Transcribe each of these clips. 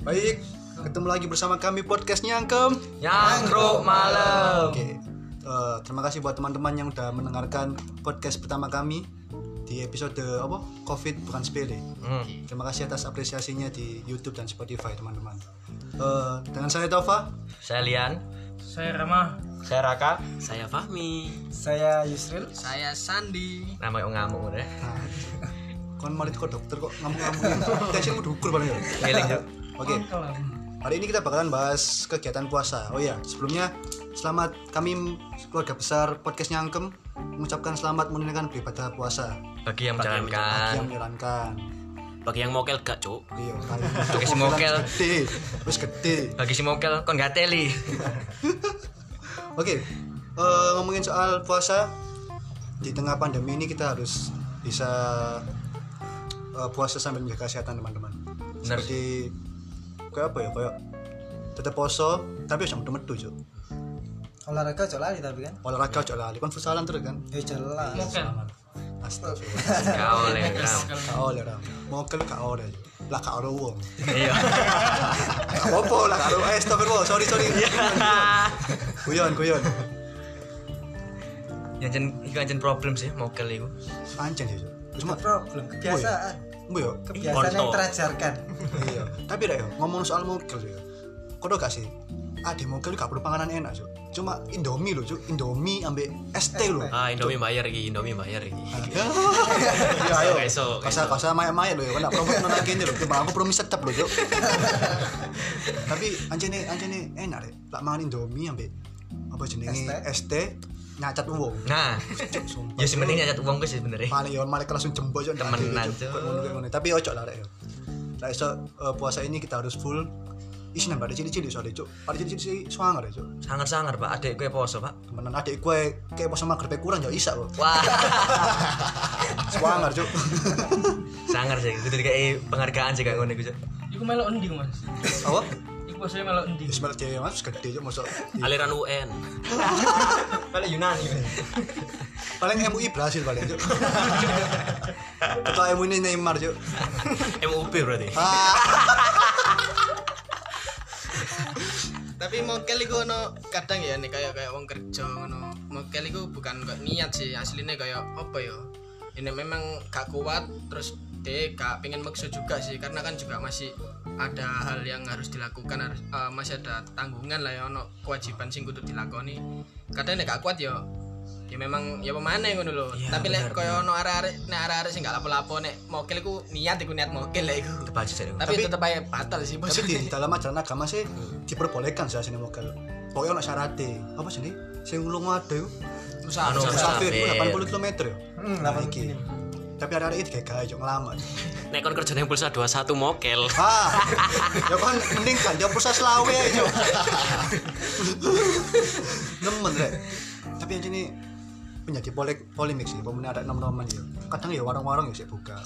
Baik, ketemu lagi bersama kami podcastnya Angkem. Nyangkruk malam. Oke, eh, terima kasih buat teman-teman yang udah mendengarkan podcast pertama kami di episode apa? Covid bukan sepele. Hmm. Terima kasih atas apresiasinya di YouTube dan Spotify teman-teman. Eh, dengan saya Tova. Saya Lian, Saya Rama. saya Raka. Saya Fahmi. Saya Yusril. Saya Sandi. Nama yang ngamuk udah. Nah, kon malah kok dokter kok ngamuk-ngamukin. Tensimu diukur paling ya. Ngeling Cuk. Oke. Hari ini kita bakalan bahas kegiatan puasa. Oh ya, sebelumnya selamat kami keluarga besar podcastnya Angkem mengucapkan selamat menunaikan beribadah puasa Bagi yang Bagi yang bagi yang menjalankan. menjalankan. Bagi yang mokel gak, Cuk? Iya, kali. Pakai si mokel. Gede, terus gede. Bagi si mokel kon gak teli. Oke, eh, ngomongin soal puasa di tengah pandemi ini kita harus bisa eh, puasa sambil menjaga kesehatan teman-teman. Benar Seperti kayak apa ya kayak tetap poso tapi jangan udah metu Cuk. olahraga jauh lari tapi kan olahraga Iya. ojo lali kan futsalan terus kan ya jauh lari astagfirullah Gak oleh Ram. gak oleh ram mau ke lu gak oleh lah gak oleh wong Iya. gak apa lah gak oleh eh astagfirullah sorry sorry Ya. guyon guyon Yang jen iku anjen problem sih mokel iku. anjing sih Cuk. cuma problem kebiasaan bu yo kebiasaan Kontol. yang terajarkan iya tapi dah yo ngomong soal mogel yo kau gak sih ah di mogel gak perlu panganan enak Cuk. cuma indomie lo Cuk. indomie ambek ST lo Ah, Indomie bayar iki, Indomie bayar iki. Iya, ayo. Esok, Kasa esok. kasa maya-maya loh ya, kan promo nang gini loh. Coba aku promo tetap loh, Cuk. Tapi anjene anjene enak deh. Lak mangan Indomie ambek apa jenenge ST nyacat wong. Nah, Cuk, sumpah. ya sih mending nyacat uang gue sih sebenarnya. Paling yo malah langsung jembo Cuk. Temenan, Nanti, Cuk. Kayak ngono, kayak ngono. Tapi ojo lah rek yo. Lah iso eh, puasa ini kita harus full isi nambah ada cili-cili soalnya cuk ada cili-cili suangar ya cuk Sangar-sangar pak, adek gue poso pak. temenan adik gue kayak puasa maghrib kurang ya isa kok Wah, suangar cuk sangar sih. Itu kayak penghargaan sih kayak ngono iku. Cuk. Iku melok endi, Mas? apa? Iku maksudnya melok endi? ya sebenernya cewek mas gede cuk masuk Aliran UN. Paling Yunani. Pak. paling MUI berhasil paling Cuk. ketua MUI ini Neymar cuk MUB berarti. ah tapi mokel iku ono kadang ya nih kayak kayak wong kerja ngono mokel iku bukan kok niat sih aslinya kayak apa ya ini memang gak kuat terus dia gak pengen maksa juga sih karena kan juga masih ada hal yang harus dilakukan harus- eh, masih ada tanggungan lah ya ono kewajiban sing kudu dilakoni kadang nek gak kuat ya ya memang ya pemane ngono lho Iya, tapi lek benar, koyo ono arek-arek nek arek-arek sing gak lapo-lapo nek mokel iku niat iku niat mokel lah iku Itu baju sih. tapi, tetep aja batal sih bos tapi di dalam ajaran agama sih diperbolehkan sih sini mokel pokoknya ono syaratnya apa sih ini sing lu ngadu Musa- Anu, musafir itu musafir. 80 km ya hmm, nah iki tapi ada hari itu kayak gaya cuk ngelamar Nek kon kerjane pulsa 21 mokel. ah ya kan mending kan dia pulsa selawe aja cuk nemen rek tapi yang ini menjadi polek polemik sih pemenang ada enam noman ya kadang ya warung-warung ya sih buka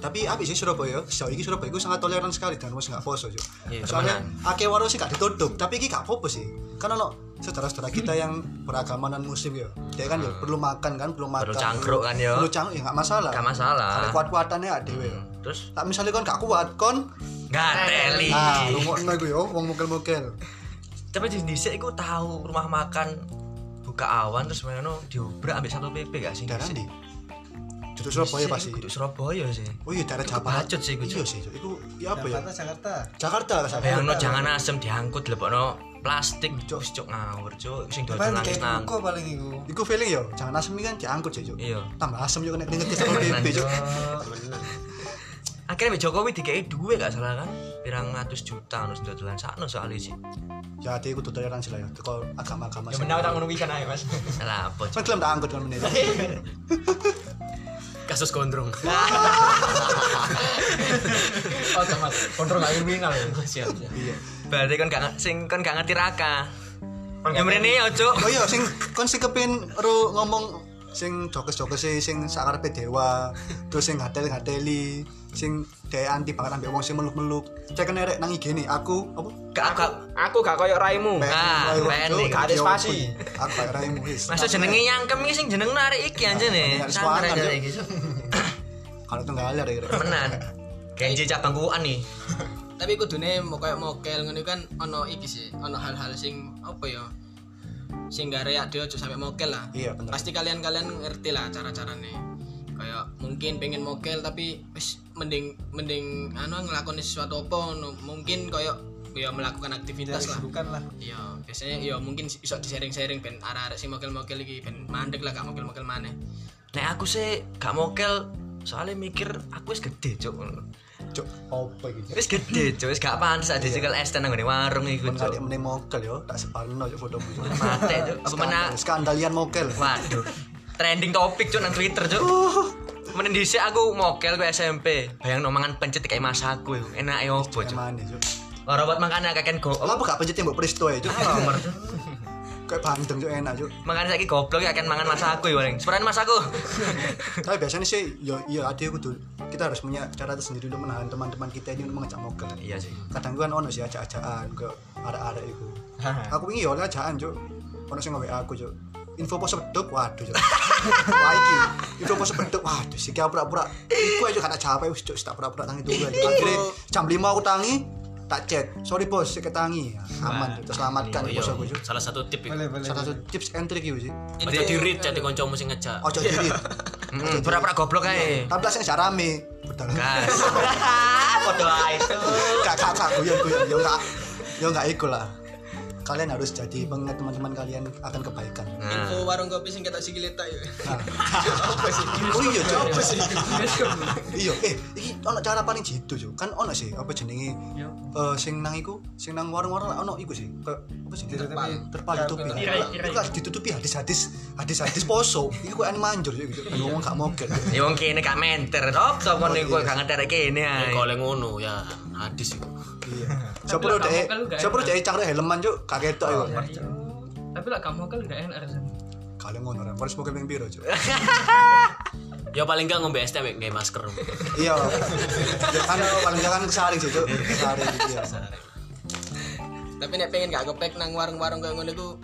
tapi apa sih Surabaya sejauh ini Surabaya itu sangat toleran sekali dan wis nggak poso Cuk. Iya, soalnya akeh warung sih gak ditutup tapi ini gak apa-apa sih karena lo saudara-saudara kita yang beragama non muslim ya dia kan ya perlu makan kan perlu makan Hmm. Perlu cangkruk kan, ya. perlu cangkruk ya nggak masalah Gak masalah. Ada kuat-kuatannya ada dewe ya. Terus Tak misalnya kon gak kuat kon gak teli. ah rungokno iku yo wong mokel-mokel. tapi di Indonesia aku tahu rumah makan buka awan terus mana diobrak ambil satu PP gak sih Daerah Di- ndi? Duduk di- Surabaya di- pasti. di Surabaya sih Oh iya daerah Iku Jawa. kebacut sih, iku, Cuk. Iya sih, Cuk. iku ya apa ya? Jakarta Jakarta Jakarta rasa. bayang no jangan asem diangkut lebok plastik cok cok ngawur cok sing dodol paling nangis kayak nang buku paling itu Iku feeling yo, jangan asem iki kan diangkut sih, Cuk. Iya. Tambah asem yo kena ngerti sama Tenan, PP, Cuk. Cuk. Gitu. akhirnya Mbak Jokowi dikei duwe gak salah kan pirang ratus juta terus dodolan sakno soalnya sih Ya ati kudu toleran sih lah ya. Teko agama-agama. sih. ngono wisan ae mas salah apa Cuk? Kan gelem tak angkut kan menit. Iya. Kasus gondrong. Iya. berarti kan gak nge- sing kan gak ngerti raka yang mrene ya, yo cok Oh iya sing kon sing kepin ru ngomong sing jokes-jokes sih sing sakarepe dewa, terus sing ngatel-ngateli, sing dhek anti banget ambek wong sing meluk-meluk. Cek nerek nang IG nih, aku apa? gak gak aku gak koyok raimu Nah, Ayo, keren Cuk, nih. gak ada spasi. Aku gak raimu wis. Masa jenenge nyangkem iki sing jeneng narik iki anjir nih. Nah, Sangar suara, aja Cuk. iki. Cuk. Kalau itu gak ada rek. Temenan. Genji cabang kuan nih. Tapi tapi kudune mau kayak mokel ngono kan ono iki sih ono hal-hal sing apa ya sing gak reak dia aja sampai mokel lah Iya, bener. pasti kalian-kalian ngerti lah cara-carane kayak mungkin pengen mokel tapi wis mending mending anu ngelakoni sesuatu apa ngono. mungkin kayak ya melakukan aktivitas lah bukan lah Iya, biasanya ya mungkin bisa di-sharing-sharing ben arek-arek sing mokel-mokel iki ben mandek lah gak mokel-mokel maneh. Nek aku sih gak mokel soalnya mikir aku wis gede cuk. Cuk, apa gitu? Wis gede cuk, wis gak pantas ada cekel es tenan nggone warung iku Kan cuk. kalian meneh mokel yo, tak separno yo fotomu. yo. Mate cuk, apa mena Skandal, skandalian mokel. waduh. Trending topik cuk nang Twitter cuk. Menen dhisik aku mokel ku SMP. Bayang mangan pencet kayak masaku iku. Enake opo cuk. Emane cuk. Ora buat makan kakek go. oh, Apa gak pencet tembok presto ya cuk? Nomor. Kayak bandeng cuk enak cuk. Makan saiki goblok akan mangan masaku ya paling. Seperan masaku. Tapi biasanya sih yo iya ada kudu kita harus punya cara tersendiri untuk menahan teman-teman kita ini untuk mengajak mokel. Iya sih. Kadang kan ono sih ajak-ajakan ke arek-arek iku. Aku wingi yo oleh ajakan cuk. Ono sing nge aku cuk. Info pos beduk, waduh cuk. Wah iki, info pos beduk, waduh sik aku pura-pura. Iku aja karena capek wis cuk, tak pura-pura tangi dulu aja. Akhirnya jam 5 aku tangi, tak chat. Sorry bos, sik ketangi. Aman, cuk. Oh, terselamatkan Iya, bos Kan aku cuk. Salah satu tip boleh ya. boleh Salah satu tips and trick iki sih. Aja di read jadi kancamu sing ngejak. Ojo dirit. Hmm, pura-pura goblok ae. Tapi lah sing gak rame. Betul. Gas. Podo ae cuk. Kak kak kak guyon guyon yo enggak yo enggak iku lah. Kalian harus jadi pengingat teman-teman kalian akan kebaikan. Info warung kopi sing ketok sikile tak yo. Nah, Apa sih? oh iya cok. Apa sih? Iya, eh iki ono cara paling jitu cok. Kan ono sih apa jenenge Yo. eh sing nang iku, sing nang warung-warung lah ono iku sih. Ke, apa sih? Ditutupi. terpal ditutupi. Ya, Tirai, tirai. Itu kan ditutupi hadis-hadis hadis-hadis poso. Iku kan manjur cok gitu. Kan ngomong gak mogel. Ya wong kene gak menter tok tok kon iku gak ngeterek kene ae. Kalau oleh ngono ya hadis itu. Iya. Sopo lu lah, dek? gak mogel lu Oh, iya, gak Sopo lu dek cangkruk helman cok? Kaget tok iku. Tapi lah kamu kan gak enak rasanya. Kalian ngono orang. Harus mogel ping piro cok? Ya paling gak ngombe es teh nggae masker. iya ya kan paling jangan kesaring sih cuk kesaring gitu ya Tapi nek pengen gak kepek nang warung-warung koyo ngono iku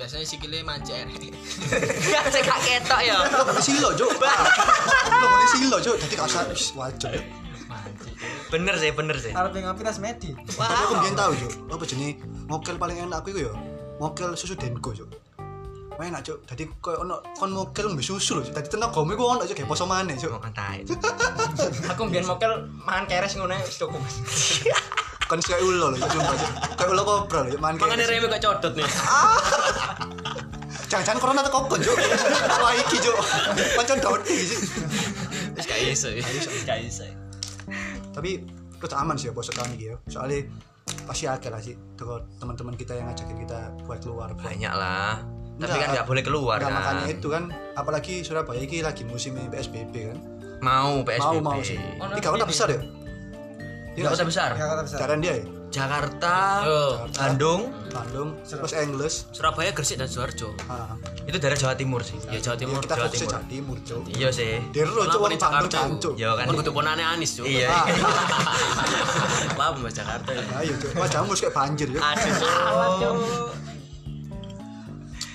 biasanya sikile mancer. Gak sik gak ketok ya. lo boleh silo cuk lo boleh silo cuk jadi gak usah wis, wajib Cuk. Bener sih, bener sih. Arab yang ngapain tas medi tapi aku mbiyen tau cuk apa jenis mokel paling enak aku iku ya mokel susu denko cuk enak cuk jadi koyo ono kon mokel mbek susu lho cuk jadi tenagamu iku ono cuk kayak poso maneh cuk Wong antai. Aku mbiyen mokel mangan keres ngono ae wis tuku, Mas. kon sik kayak ulo lho cuk sumpah cuk kayak ulo kobra lho cuk, mangan Makanya kayak- Ah. reme kok codot nih. jangan-jangan corona teko kon cuk wah iki cuk pancen daun iki sih Wis gak iso. ya. Gak iso. tapi terus aman sih ya bosok tahun ini ya soalnya pasti ada lah sih kalau teman-teman kita yang ngajakin kita buat keluar buat Banyak lah. Tapi kan gak boleh keluar Nah, makanya kan. itu kan apalagi Surabaya ini lagi musim PSBB kan Mau mau PSBB. mau sih Oh, Iya. Ono tiga kota PSBB. besar ya Enggak usah besar. ya kata besar Jaran dia ya Jakarta, Yo, Bandung, Bandung Los Angeles Surabaya, Gresik dan Sidoarjo. ah, itu daerah Jawa Timur sih. Ya Jawa ya Timur, kita Jawa fokusnya Timur. Jawa Timur cok Iya sih. Dero cok Kenapa orang nih Bandung Ah, Jakarta kan cok Yo kan. Kan kudu ponane Anis yo. Iya. Paham Mas Jakarta. ya. ayo cok wajahmu harus kayak banjir cok Aduh. Cuk. Oh.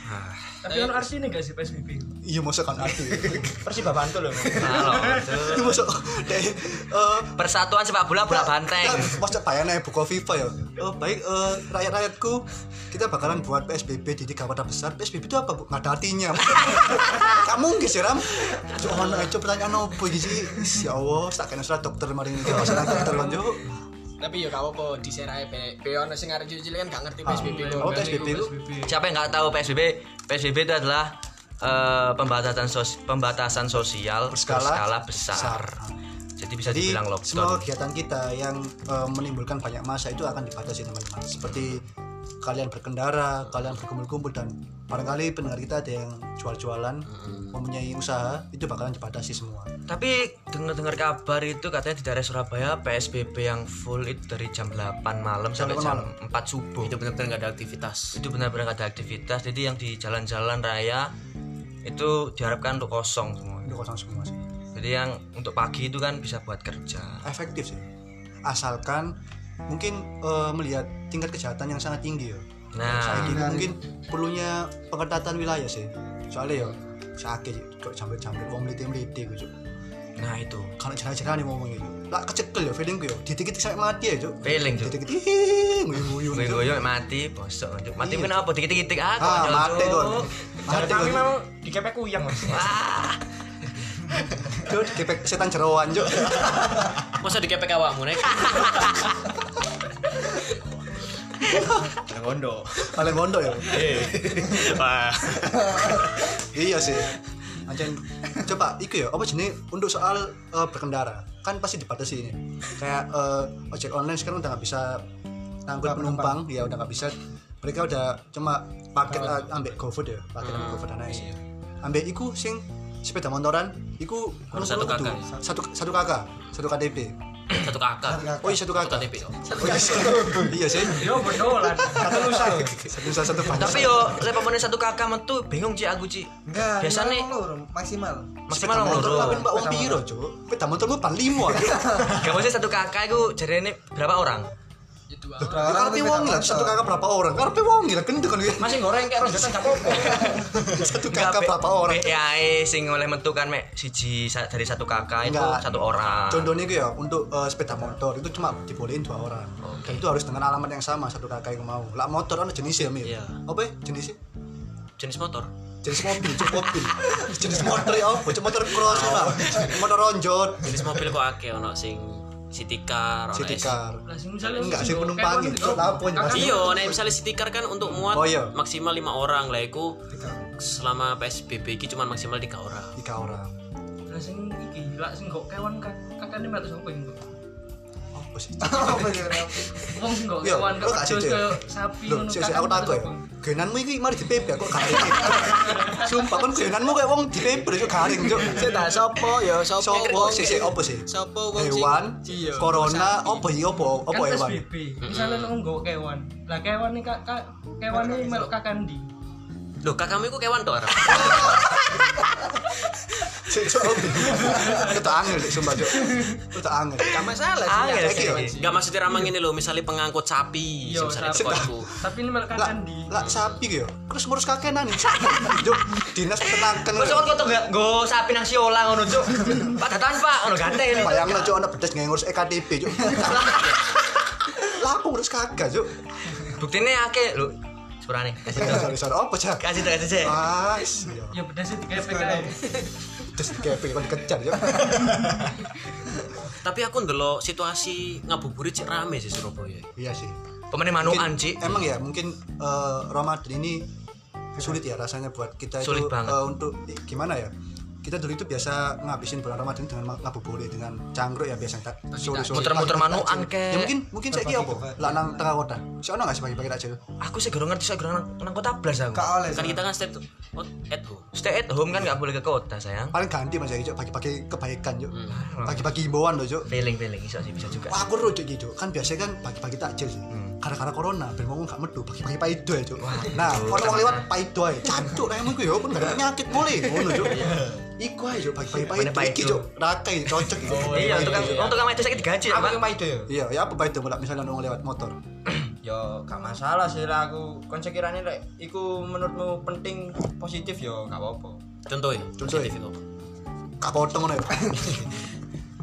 Ah. Tapi kan ono artine gak sih PSBB? iya masa kan aku ya Persiba Bantul loh Halo. iya masa deh eh, Persatuan sepak bola bola banteng. Kan, maksudnya bayangin aja buka FIFA ya oh baik eh, rakyat-rakyatku kita bakalan buat PSBB di tiga kota besar PSBB itu apa bu? gak ada artinya gak mungkin sih Ram cuman aja pertanyaan apa gitu sih Is, ya Allah tak kena surat dokter mari ini masalah dokter kan Cuk. Tapi yo gak apa-apa di-share ae be. Be ono sing arek cilik kan gak ngerti PSBB kok. oh PSBB itu Siapa yang nggak tahu PSBB? PSBB itu adalah eh, pembatasan sos- pembatasan sosial Berskala besar. besar. Jadi bisa jadi dibilang semua lockdown. kegiatan kita yang eh, menimbulkan banyak masa itu akan dibatasi teman-teman seperti kalian berkendara, kalian berkumpul-kumpul dan barangkali pendengar kita ada yang jual-jualan, Mm-hmm. mempunyai usaha itu bakalan dibatasi semua. Tapi dengar-dengar kabar itu katanya di daerah Surabaya PSBB yang full itu dari jam 8 malam sampai jam 4 subuh. Itu benar-benar gak ada aktivitas. Itu benar-benar nggak ada aktivitas. Jadi yang di jalan-jalan raya itu diharapkan untuk kosong semua. Itu kosong semua sih. Jadi yang untuk pagi itu kan bisa buat kerja. efektif sih asalkan mungkin eh, melihat tingkat kejahatan yang sangat tinggi ya saya Nah, kira mungkin perlunya pengetatan wilayah sih soalnya ya sakit kok sampai sampai wong meliti meliti gitu nah itu Kalau jerah-jerah nih ngomong gitu. Lah kecekel ya feelingku ya. Ditikit sampai mati ya, Cuk. feeling tuh Ditikit hihihi, nguyu-nguyu. gue Cuk. gue mati bosok Cuk. mati Iya, mungkin apa dikit dikit ah kok, Ah, Cuk. mati kon. Mati Tapi kon. memang dikepek kuyang mas. Cuk, dikepek setan jeroan, Cuk. Masa dikepek awakmu nek? Kondo. Paling bondo ya. Wah. Iya sih. Anjen coba iku ya apa jenis untuk soal eh, berkendara kan pasti dibatasi ini kayak eh, ojek online sekarang udah nggak bisa angkut penumpang ya udah nggak bisa mereka udah cuma paket eh, ambek GoFood ya paket ambek GoFood dan lain ambek iku sing sepeda motoran iku Harus satu kudu- kakak. satu satu kakak satu KTP Satu kakak. oh iya satu kakak KTP. Oh, iya, sih. iya sih Ya, Yo bedolan. Kata lu saya. satu nusa satu bangsa tapi yo saya pemenang satu kakak metu bingung Ci aku Ci Enggak, Biasanya- lima orang maksimal. maksimal Sepeda wong motor loro lah, ben mbak wong piro cuk sepeda motor lu pan limo gak maksudnya satu kakak itu jarene berapa orang Ya dua Berapa Ya, Karpe orang sepeda wong lah, motor? satu kakak berapa orang? Karpe wong lah, gendek kan Masih goreng kayak rojotan gak apa-apa. Satu kakak berapa orang? ya. BAE sing oleh metu kan mek siji sa- dari satu kakak itu Enggak. satu orang Contohnya gue ya, untuk eh, sepeda motor itu cuma dibolehin dua orang Dan itu harus dengan alamat yang sama, satu kakak yang mau Lah motor kan jenisnya, Mir Iya. Apa ya jenisnya? Jenis motor. Jenis mobil, jenis mobil Jenis motor ya apa? Jenis motor cross lah Motor ronjot Jenis mobil kok akeh ono sing city car, ono City S- car Enggak sih Kayak penumpangnya, ngono, cok lapo Kakak pasti Iya, nek misalnya city car kan untuk muat Oh, iya. maksimal lima orang lah iku selama PSBB iki cuma maksimal tiga orang. Tiga orang Lah sing iki lah sing gak kewan kak kakaknya mati sopo yang Apa sih? Apa sih, Ram? Wong sing gak Iya, kewan lo gak kak sih, terus Cuk? kayak sapi Loh, ngono, sih, kan sih, kakaknya aku mati tato ya sopo. Genanmu ini mari di PP, kok garing Sumpah, kan genanmu kayak wong di PP, kok garing, cok Sik tak sopo ya sopo Sopo wong sih sih sik- apa sih? Sopo wong sing- Hewan, Iya. corona, Sapi. apa iya apa apa kan hewan? PSBB misalnya lo nggak kewan lah kewan nih kak kak- kewan nih melok kakandi Loh, kakakmu iku kewan tok, Ram. Sik cok. Itu tak angel sik sumpah cok. Itu tak angel. Gak masalah sih. Angel nyata Ah, iya sih. kewan sih. Enggak maksudnya Iya. ramang ini loh, misalnya pengangkut sapi, Iya, misalnya sapi. tekonku. tapi ini melok Lah, kakandi lah sapi gitu. Terus ngurus kakenan nih. Cok, dinas peternakan. Masa kan kok gak go sapi nasiola ngono cuk. Pak datan Pak ngono ganteng. Bayang lah cok, anak pedes nggak ngurus E EKTP cok. Lah aku ngurus kagak cok. Buktine akeh lho. Sepurane. Kasih Eh, tok. Sorry sorry, apa cok? Kasih tok kasih cek. Ah, iya. ya beda sih tiga PKI Terus kayak pengen dikejar cok. Tapi aku ndelok situasi ngabuburit sih rame sih Surabaya. Iya sih. Pemene Mungkin- manukan Ci. Emang ya mungkin eh, Ramadan ini sulit ya rasanya buat kita Sulit itu banget. eh, untuk eh, gimana ya? Kita dulu itu biasa ngabisin bulan Ramadan dengan ma- ngabuburit dengan cangkruk ya biasanya tak sore-sore. Muter-muter pagi-pagi manukan, takjil. kek. Ya mungkin mungkin saya apa? Lah nang tengah kota. Soalnya nggak sih pagi-pagi takjil. Aku sih gak ngerti saya gak nang- nang kota blas aku. Gak oleh. Kan Ram. kita kan stay to- Oh, at home. Stay at home kan gak boleh ke kota sayang. Paling ganti mas Yai, Cuk. pagi-pagi kebaikan Cuk. Hmm. Pagi-pagi himbauan loh Cuk. Feeling feeling iso sih bisa juga. Wah, aku rujuk gitu kan biasanya kan pagi-pagi takjil sih karena karena corona ben wong gak metu pagi-pagi paido ya cuk nah ono wong lewat paido ae cancuk remu iku ya pun gak ada penyakit mulai ngono cuk iku ae cuk pagi-pagi Mana paido iki paido? cuk rakai cocok iki Iya, untuk untuk kamu itu sakit digaji ya, Aku Pak. yang maido ya. iya ya apa paido mulai misalnya ono wong lewat motor Yo gak masalah sih lah aku. Kon sekiranya lek iku menurutmu penting positif yo gak apa-apa. Contohnya, Contohnya. positif itu. gak potong ngono ya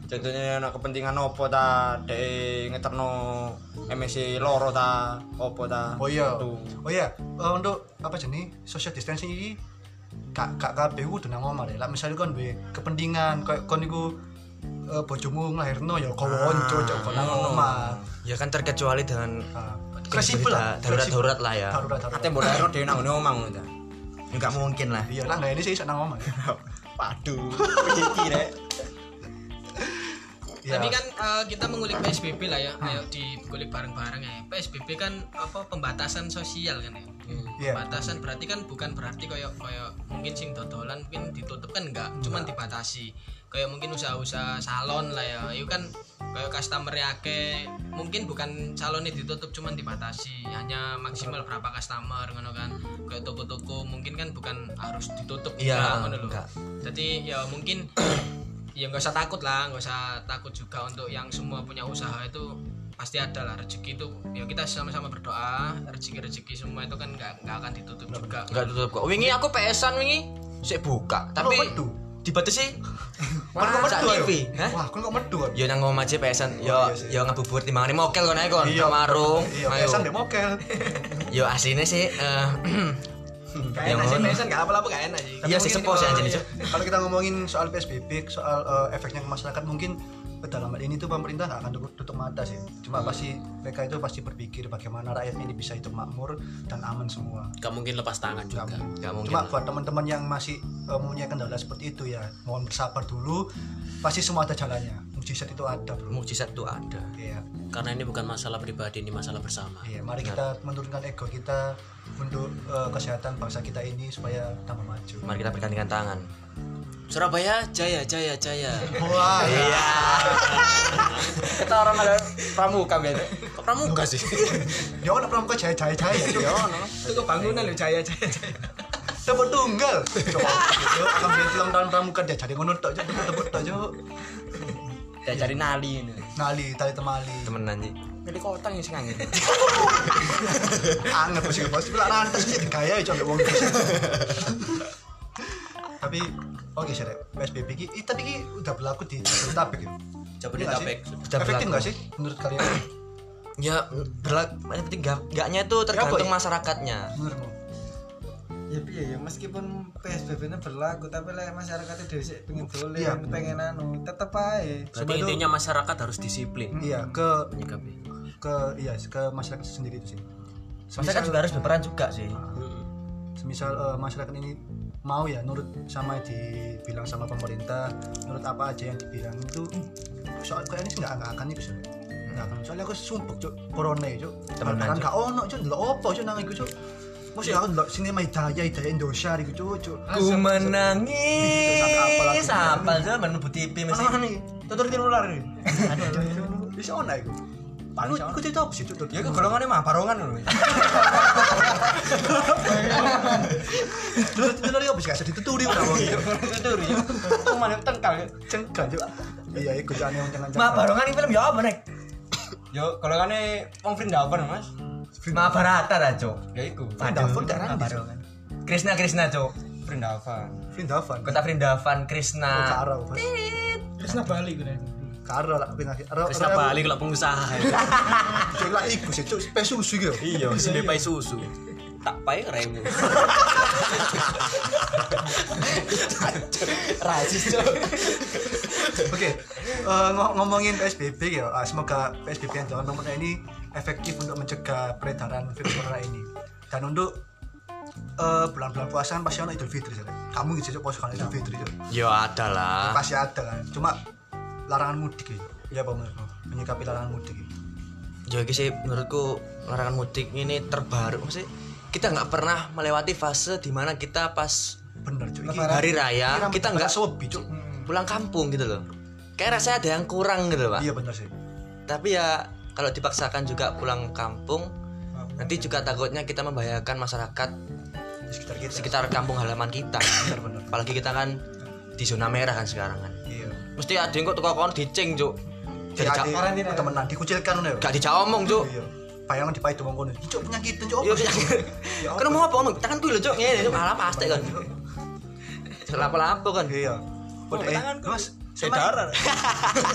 Contohnya ana kepentingan opo ta de ngeterno MSC loro ta opo ta. oh iya Tuh. oh iya Eh, untuk apa jenis social distancing ini kak kak kabeh kudu nang omah deh lah misalnya kon duwe kepentingan koyo kon iku eh, bojomu nglahirno ya kawon cuk cuk kon nang omah Ya kan terkecuali dengan Ah, fleksibel lah darurat-darurat lah ya. darurat darurat Ate mbok ayo dhewe nang ngene omang ngono ta. Enggak mungkin lah. iya lah nggak ini sih senang ngomong Waduh, iki rek. ya Tapi kan eh, kita mengulik PSBB lah ya. Ayo dikulik bareng-bareng ya. PSBB kan apa pembatasan sosial kan ya. Iya. Pembatasan berarti kan bukan berarti koyok koyok mungkin sing dodolan mungkin ditutup kan enggak, cuman dibatasi. Kayak mungkin usaha-usaha salon lah ya. Itu kan kayak customer akeh mungkin bukan salonnya ditutup cuman dibatasi hanya maksimal berapa customer ngono kan kayak toko-toko mungkin kan bukan harus ditutup Iya, enggak, ngono lho. enggak. jadi ya mungkin ya nggak usah takut lah nggak usah takut juga untuk yang semua punya usaha itu pasti ada lah rezeki itu ya kita sama-sama berdoa rezeki rezeki semua itu kan nggak nggak akan ditutup juga Oh, Enggak tutup kok. Wingi aku PSan wingi sik buka, tapi metu? dibatasi Wah, kon kok sak metu ayo. TV. Hah? Wah, kon kok metu. Yo ya nang ngomah aja pesan, Oh, yo iya sih. yo ya ngebubur timbangane mokel kon ae kon, Iya. nang warung. Iya, Ayo. pesan deh mokel. Yo aslinya sih eh, Gak Yang enak sih mana? Mason, gak apa-apa gak enak sih. iya sih mungkin sepo sih kalau- anjir iya. Kalau kita ngomongin soal PSBB, soal eh, efeknya ke masyarakat mungkin dalam hal ini tuh pemerintah nggak akan tutup, tutup mata sih. Cuma Hmm. pasti mereka itu pasti berpikir bagaimana rakyatnya ini bisa hidup makmur dan aman semua. Gak mungkin lepas tangan Nggak juga. mungkin. Nggak mungkin Cuma lah. buat teman-teman yang masih eh, mempunyai kendala seperti itu ya, mohon bersabar dulu. Pasti semua ada jalannya. Mujizat itu ada, Bro. Mujizat itu ada. Iya. Karena ini bukan masalah pribadi, ini masalah bersama. Iya, mari kita menurunkan ego kita untuk eh, kesehatan bangsa kita ini supaya tambah maju. Mari kita bergandingan tangan. Surabaya, jaya, jaya, jaya. Wah, iya. Kita orang ada pramuka biasa. Kok pramuka sih? Dia orang pramuka jaya-jaya ya. Itu kok bangunan loh jaya jaya jaya. Tepuk tunggal. Coba gitu. Akan beli film tahun pramuka dia jadi ngono tok Cuk. tepuk tok Cuk. Ya cari nali ini. Nali tali temali. Temenan sih. Pilih kotang ya sing angin. Anget bos iki bos. Lah rantes sih digaya Cuk, ambek wong iki. Tapi oke sih Rek. PSBB iki eh, tapi iki udah berlaku di Jabodetabek ya. Iya Jabodetabek. Sudah efektif nggak sih menurut kalian? Ya berlak yang penting gak- gaknya itu tergantung masyarakatnya. Menurutmu? ya piye ya meskipun PSBB nya berlaku tapi lah masyarakatnya dhewe sik pengen dolen Iya. pengen anu tetep ae Berarti intinya masyarakat harus disiplin. Iya, ke menyikapi. ke iya ke masyarakat sendiri itu sih. Masyarakat kan juga harus berperan juga sih. Semisal eh, masyarakat ini mau ya nurut sama dibilang sama pemerintah, nurut apa aja yang dibilang itu soal kayaknya sih nggak nggak akan itu sih. Nggak akan. Soalnya aku sumpuk cuk corona ya cuk. Temenan, Teman-teman Cuk. nggak ono cuk ndelok opo cuk nang iku cuk. Mesti aku ndelok sinema Hidayah Hidayah Indonesia iku cuk cuk. Ku menangis Sampai apa lagi? Sampai aja menunggu TV mesti Mana nih? Tutur tiru ular nih Bisa ono iku. Paling aku cerita apa sih cuk? Ya ke golongannya mah barongan loh. Dulu itu lari habis kasih dituturi orang wong itu. Tuturi. Tuh mana ya? tengkal. Cengkan cuk. Iya, iku cuk aneh wong jangan. Mah barongan ini film ya apa nek? Yo golongannya wong Vrindavan Mas. Mah barata lah cok Ya iku. Vrindavan daerah Mah ndi, Cuk? barongan Krishna Krishna cok Vrindavan. Vindavan. Kota Vrindavan Krishna Karo. Bos. Terus nah balik gue. Karo lah pina. Karo. Terus apa balik kalau pengusaha? ya. Cuk, lah iku sih cuk spes susu gitu. Iya, sini pai susu. Tak pai remu. Rasis cok. Oke, eh, ngo- ngomongin PSBB ya, ah, semoga PSBB yang tahun pemerintah ini efektif untuk mencegah peredaran virus corona ini. Dan untuk eh, bulan-bulan puasa kan pasti ada Idul Fitri, Cuk. kamu gitu cuk, puasa kan Idul Fitri Cuk. Ya ada lah pasti ada kan. Cuma larangan mudik ya, ya Pak Mas, menyikapi larangan mudik. ya. Ya iki sih menurutku larangan mudik ini terbaru Maksudnya kita nggak pernah melewati fase dimana kita pas Bener cuy. hari raya kita nggak sobi cuk. pulang kampung gitu loh kayak rasanya ada yang kurang gitu pak Iya bener sih. tapi ya kalau dipaksakan juga pulang kampung iya. nanti juga takutnya kita membahayakan masyarakat Di sekitar kita. sekitar kampung halaman kita bener. apalagi kita kan di zona merah kan sekarang kan Iya. mesti ada yang kok tukang kon dicing cuk Jadi gak dijak- ada temenan dikucilkan ngono ya. gak dijak omong cuk Iya. Bayangan dipahit wong kono. Cuk penyakit cuk. apa, Yo, Cuk?" Ya, kan mau apa omong tangan kuwi lho cuk ngene cuk Iya, malah pasti kan lapo-lapo kan Iya. Udah eh, Mas, semen.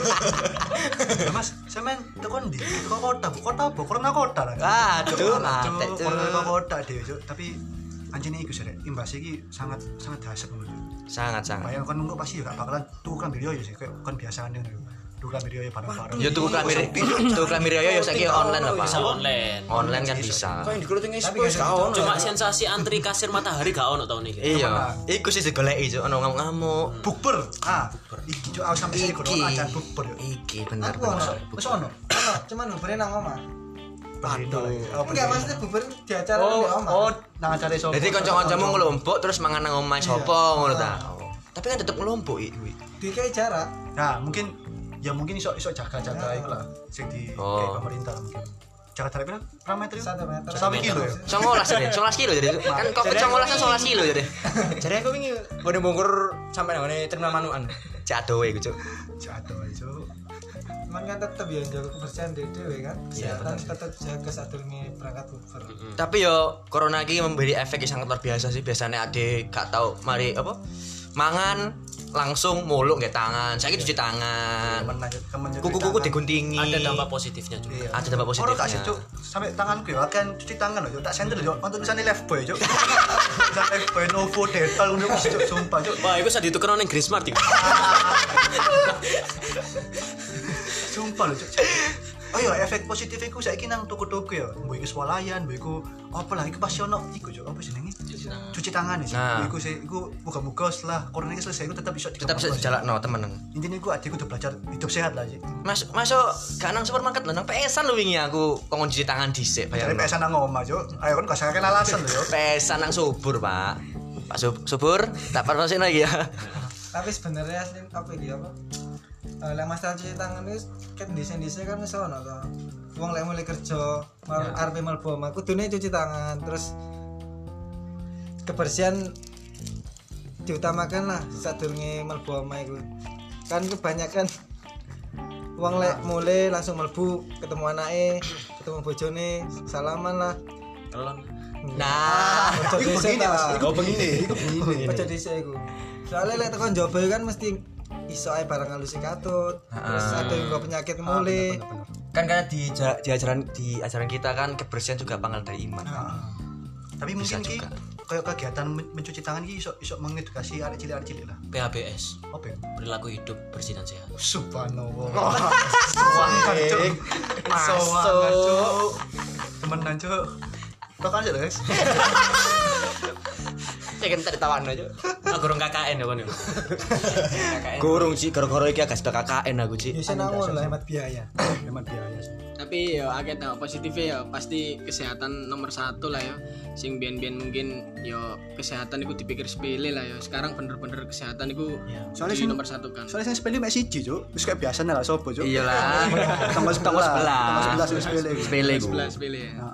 Ya, Mas, semen tekan di teko kota, Bu. kota apa? Corona kota lah. Aduh, Cuk, mati, Cuk. corona teko kota dhewe, Cuk. Tapi anjing iku sih, Rek. imbas iki sangat sangat dahsyat ngono. Cuk. sangat sangat Bayang kan nunggu pasti ya gak bakalan tuh kan video ya sih, kayak kan biasane ngono. Tuh kan video ya bareng-bareng. yo tuku klamir tuku klamir yo yo saiki online lah Bisa pak online. online kan bisa Kok yang dikelutingi sepuluh tahun. Cuma sensasi antri kasir matahari gak ono tahun ini. iya iku sih digoleki cuk ono ngamuk-ngamuk Hmm. Bukber. Ah, iki Cuk, aku sampe sini corona acan bukber. yo. iki bener aku ono Wes ono. ono cuman buburnya nang oma Pendeta iya, lagi. Oh, enggak pendeta. maksudnya bubur di acara Oh, di oma oh, nang acara sopo? Jadi kanca-kancamu ngelompok terus mangan nang omahe sapa ngono ta. Tapi kan tetep ngelompok iki. DKI jarak Nah, mungkin ya mungkin iso iso jaga-jaga iku lah sing di Iya. Oh. kayak pemerintah lah mungkin. Jaga terapi lah, berapa meter? Satu meter. Satu kilo ya. 19 jadi, 19 kilo jadi. Kan kok 19 kan 19 kilo jadi. Jadi aku wingi bone bongkur sampai nang ngene terminal manukan. Jatuh iku, Cuk. Jatuh aja. cuman kan tetep ya jaga kebersihan diri dhewe kan Iya, kesehatan tetep jaga saat durunge berangkat bubur Hmm. Tapi yo corona iki memberi efek yang sangat luar biasa sih. Biasanya ade gak tau mari apa mangan langsung muluk nggak tangan saya cuci Iya. tangan Nah. kuku-kuku diguntingi Iya. Ada dampak positifnya juga. ada dampak Iya. Orang tak sih positifnya cuk, sampai tanganku ya kan cuci tangan loh, cuk. tak sender loh, cuk. untuk misalnya left boy cuk, bisa left boy novo dental untuk cuk sumpah cuk, Wah, itu saat itu kena neng Griezmann tiga. sumpah loh cuk. Oh iya, efek positif iku saiki nang toko-toko ya. Mbok iku swalayan, mbok iku apa lah iku pasti ono iku cuk, apa jenenge? Cuci tangan. Cuci tangan ya. Cuk. Nah. Mbok Iku sih iku muga-muga setelah corona iki selesai iku tetap iso tetap bisa dikembangkan. jalan no temen Intinya iku adek kudu belajar hidup sehat lah cuk. mas masuk gak nang supermarket lah nang pesan lu wingi aku kok cuci tangan dhisik Cari bayangno. pesan nang omah cuk. Ayo kan gak sakake alasan lho cuk. pesan nang subur pak pak Sub- subur tak parnosin lagi ya tapi sebenarnya asli apa iki apa Eh, lek masalah cuci tangan itu kan desain desain kan wis ono to wong lek mulai kerja mal arep mlebu omah kudune cuci tangan terus kebersihan diutamakan lah sadurunge mlebu omah iku kan kebanyakan wong lek mulai langsung mlebu ketemu anake ketemu bojone salaman lah Hmm. nah Ojo Iku dhisik begini mas, ta. iku Oh, begini, iku begini. Ojo dhisik iku. Soale lek tekan njaba iku kan mesti iso ae barang halus katut. Terus ada juga penyakit Ah, mule. kan karena di, ja- di ajaran di ajaran kita kan kebersihan juga pangkal dari iman Nah. Tapi mungkin ki juga. kayak kegiatan men- mencuci tangan ki iso iso mengedukasi arek cilik-arek cilik lah. PHBS, Apa ya? perilaku hidup bersih dan sehat. Subhanallah. Suwangan cuk. Suwangan cuk. Temenan cuk. Kau kan sih guys. saya kan tertawan aja Aku orang KKN ya, Bang. Gurung sih, gara-gara iki agak sudah KKN aku sih. Ya sing ngawur lah hemat biaya. Memang biaya sih. tapi ya akeh dampak positifnya ya pasti kesehatan nomor satu lah ya sing bian-bian mungkin yo kesehatan itu dipikir sepele lah ya sekarang bener-bener kesehatan itu Iya. Soalnya di sing- nomor satu kan Soalnya saya sepele mek siji cuk. Wis kayak biasa lah sopo cuk. Iyalah. Iya. Tambah Tambah sebelah. Tambah sebelas wis sepele. Sepele ku. sebelah sepele Nah, ya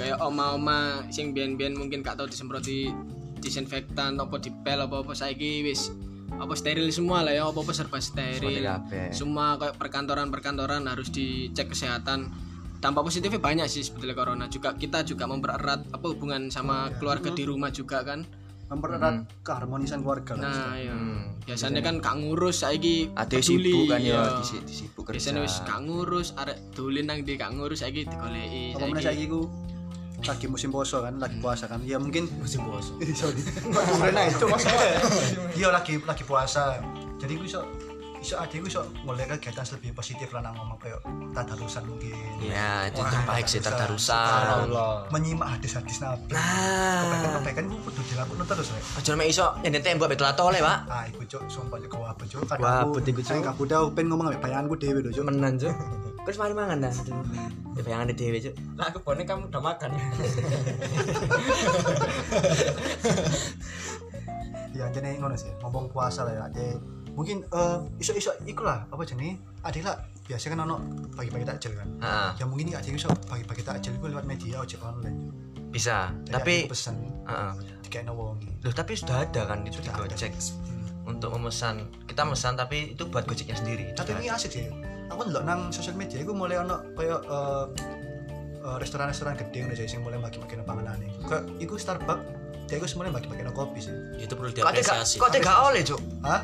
kayak oma-oma sing bian-bian mungkin gak tau disemproti disinfektan apa dipel apa apa saiki wis apa steril semua lah ya apa apa serba Seperti steril kabeh. semua kayak perkantoran-perkantoran harus dicek kesehatan dampak positifnya banyak sih sebetulnya corona juga kita juga mempererat apa hubungan Iya. sama keluarga di rumah juga kan Mempererat keharmonisan keluarga lah. nah ya biasanya kan kak ngurus saiki Ada peduli, Hmm. sibuk kan ya, iya. disi- disibuk kerja. biasanya wis kak ngurus arek dolen nang di kak ngurus saiki digoleki Apa meneh saiki ku lagi musim poso kan, lagi puasa kan. Ya mungkin musim poso. Sorry. Corona itu maksudnya. Iya lagi lagi puasa. Jadi ku iso iso adek ku iso mulai kegiatan lebih positif lah nang ngomong kayak tadarusan mungkin. Ya, itu Wah, terbaik sih tadarusan. tertarusan. menyimak hadis-hadis nabi Nah, kebaikan-kebaikan gue kudu dilakukan terus ya aja mek iso yang ditembak betul atau oleh, Pak. ah iku cok sumpah cok kau apa cok Wah, kadang penting, aku Cuk. saya kabur dah pengen ngomong sama bayanganku dewe lho cok Temenan, Cuk. Terus mari mangan dah. Ya bayangane dhewe, Cuk. Lah aku bonek kamu udah makan. ya jadi ngono sih ngomong puasa lah ya jadi mungkin eh iso-iso iku lah apa jenis adik lah biasa kan ono pagi-pagi takjil kan Heeh, ya mungkin ini adik iso pagi-pagi takjil gue lewat media ojek online bisa. Jadi Tapi adek pesen heeh. tiga wongi Loh, tapi sudah ada kan itu di Gojek Hmm. untuk memesan. Kita memesan tapi itu kan? buat Gojeknya sendiri. tapi ini asik sih aku ndelok nang sosial media aku mulai ono kayak eh, eh, restoran-restoran gede udah sing mulai bagi-bagi panganan iku kayak iku Starbucks dia iku semuanya bagi-bagi kopi sih ya, Itu perlu Kok ada gak- diapresiasi. kok ada gak oleh, Cuk? hah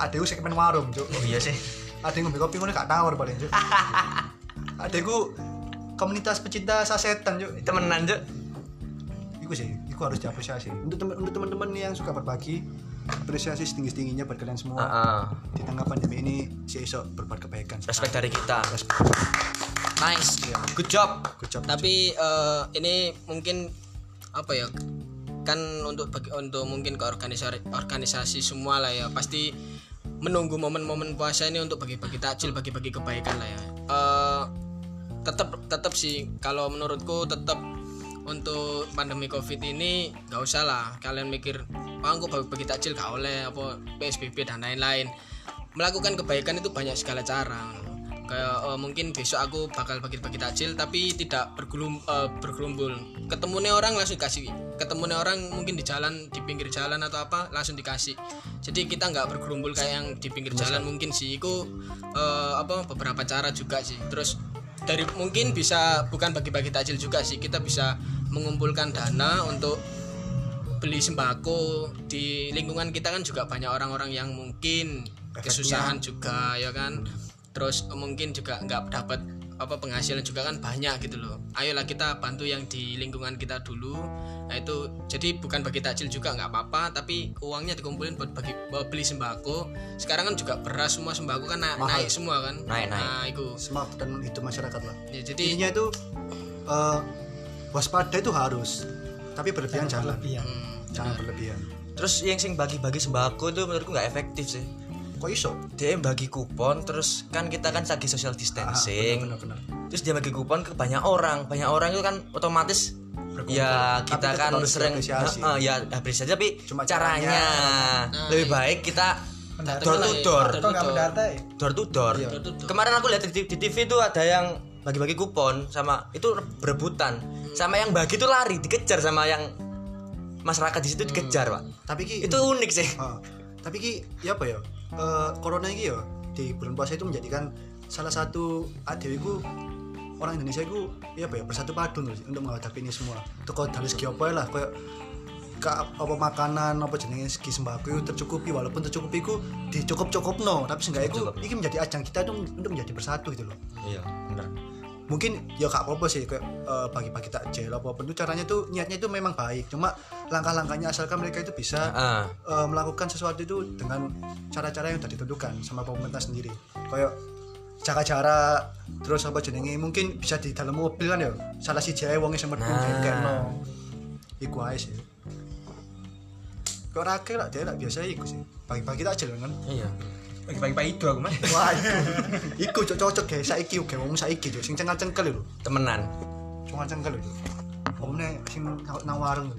ada iku segmen warung cuk Oh iya sih. ada yang ngombe kopi ngono gak tawar paling cuk ada iku komunitas pecinta sasetan cuk Temenan, Cuk. iku sih iku harus diapresiasi untuk temen untuk teman-teman yang suka berbagi apresiasi setinggi-tingginya buat kalian semua Heeh. di tengah pandemi ini saya iso berbuat kebaikan Respect dari kita. nice Good job. Good job. tapi eh, ini mungkin apa ya kan untuk bagi- untuk mungkin ke organisasi organisasi semua lah ya pasti menunggu momen-momen puasa ini untuk bagi-bagi takjil bagi-bagi kebaikan lah ya Eh, tetap tetap sih kalau menurutku tetap untuk pandemi covid ini nggak usah lah kalian mikir ah aku bagi-bagi takjil gak oleh apa psbb dan lain-lain melakukan kebaikan itu banyak segala cara kayak eh, mungkin besok aku bakal bagi-bagi takjil tapi tidak bergelum eh, bergelumbul ketemunya orang langsung dikasih ketemunya orang mungkin di jalan di pinggir jalan atau apa langsung dikasih jadi kita nggak bergelumbul kayak yang di pinggir jalan mungkin sih itu eh, apa beberapa cara juga sih terus dari mungkin bisa bukan bagi-bagi takjil juga sih kita bisa mengumpulkan dana untuk beli sembako di lingkungan kita kan juga banyak orang-orang yang mungkin kesusahan juga ya kan terus mungkin juga nggak dapat apa penghasilan juga kan banyak gitu loh ayolah kita bantu yang di lingkungan kita dulu nah itu jadi bukan bagi takjil juga nggak apa-apa tapi uangnya dikumpulin buat bagi buat beli sembako sekarang kan juga beras semua sembako kan na- Mahal. naik semua kan Naik, naik. nah itu smart dan itu masyarakat lah ya, jadi intinya itu eh, waspada itu harus tapi berlebihan jangan Berlebihan. jangan berlebihan terus yang sing bagi-bagi sembako itu menurutku nggak efektif sih kok iso dia bagi kupon terus kan kita kan lagi social distancing benar benar terus dia bagi kupon ke banyak orang banyak orang itu kan otomatis Berkumpul. ya Tapi kita tetap kan harus sering diapresiasi. Heeh, ya apresiasi tapi Cuma caranya, caranya. lebih baik kita door to door Kok nggak mendata ya? door to door kemarin aku lihat di, di TV itu ada yang bagi-bagi kupon sama itu berebutan sama yang bagi itu lari dikejar sama yang masyarakat di situ dikejar Hmm. pak tapi ki itu unik sih Ah, tapi ki ya apa ya Eh, corona ini ya di bulan puasa itu menjadikan salah satu adew iku orang Indonesia itu ya apa ya bersatu padu nggak sih, untuk menghadapi ini semua toko dari segi apa ya lah kayak ka, apa makanan apa jenenge segi sembako itu tercukupi walaupun tercukupi ku dicukup cukup no tapi seenggaknya itu ini menjadi ajang kita itu untuk menjadi bersatu gitu loh iya bener mungkin ya gak apa-apa sih kayak eh, pagi-pagi takjil apa apa itu caranya tuh niatnya itu memang baik cuma langkah-langkahnya asalkan mereka itu bisa ah eh, melakukan sesuatu itu dengan cara-cara yang sudah ditentukan sama pemerintah sendiri kayak jaga jarak terus apa jenenge mungkin bisa di dalam mobil kan ya salah si jahe wonge sing mlebu Nah. nah. iku ae sih kok rake lah dia lah biasa iku sih pagi-pagi tak jalan kan iya Pagi-pagi itu aku mah. wah iku iku cocok cocok guys saiki oke wong saiki yo sing cengkel-cengkel lho temenan cengkel-cengkel lho omne sing nang nang warung lho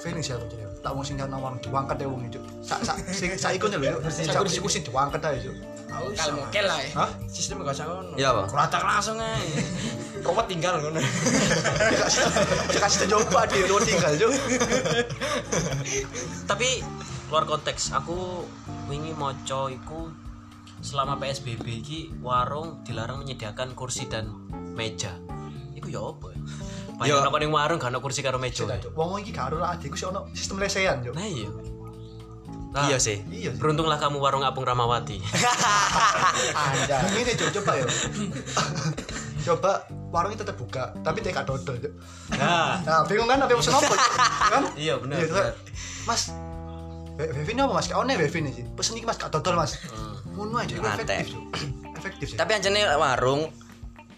Feeling siapa tuh? Tak mau singgah nawang diwangkat deh wong itu. Sak sak sing sak iku lho. Sak kursi kursi diwangkat aja Cuk. kalau mokel lah ya. sistem gak usah ngono iya pak kuratak langsung aja robot tinggal ngono Dia kasih coba dia lu tinggal Cuk. tapi luar konteks aku wingi moco iku selama PSBB iki warung dilarang menyediakan kursi dan meja iku ya apa ya? banyak Ya. apa ning warung gak ana kursi karo meja Cuk. Wong iki gak ada adikku sih ono sistem lesehan Cuk. nah iya iya sih Iya. Cuk. beruntunglah kamu warung apung Ramawati Anda. Ini Cuk coba yo. Coba warungnya tetap buka, tapi dia gak dodol Cuk. nah Nah, bingung kan apa yang pesen apa? Cuk? Kan? Iya, bener, Cuk. bener. Mas Be- Bevin apa mas? Kau nih Bevin sih. Pesen iki mas gak dodol mas. Ngono aja itu Mantep. efektif Cuk. Efektif sih. Hmm. tapi anjane warung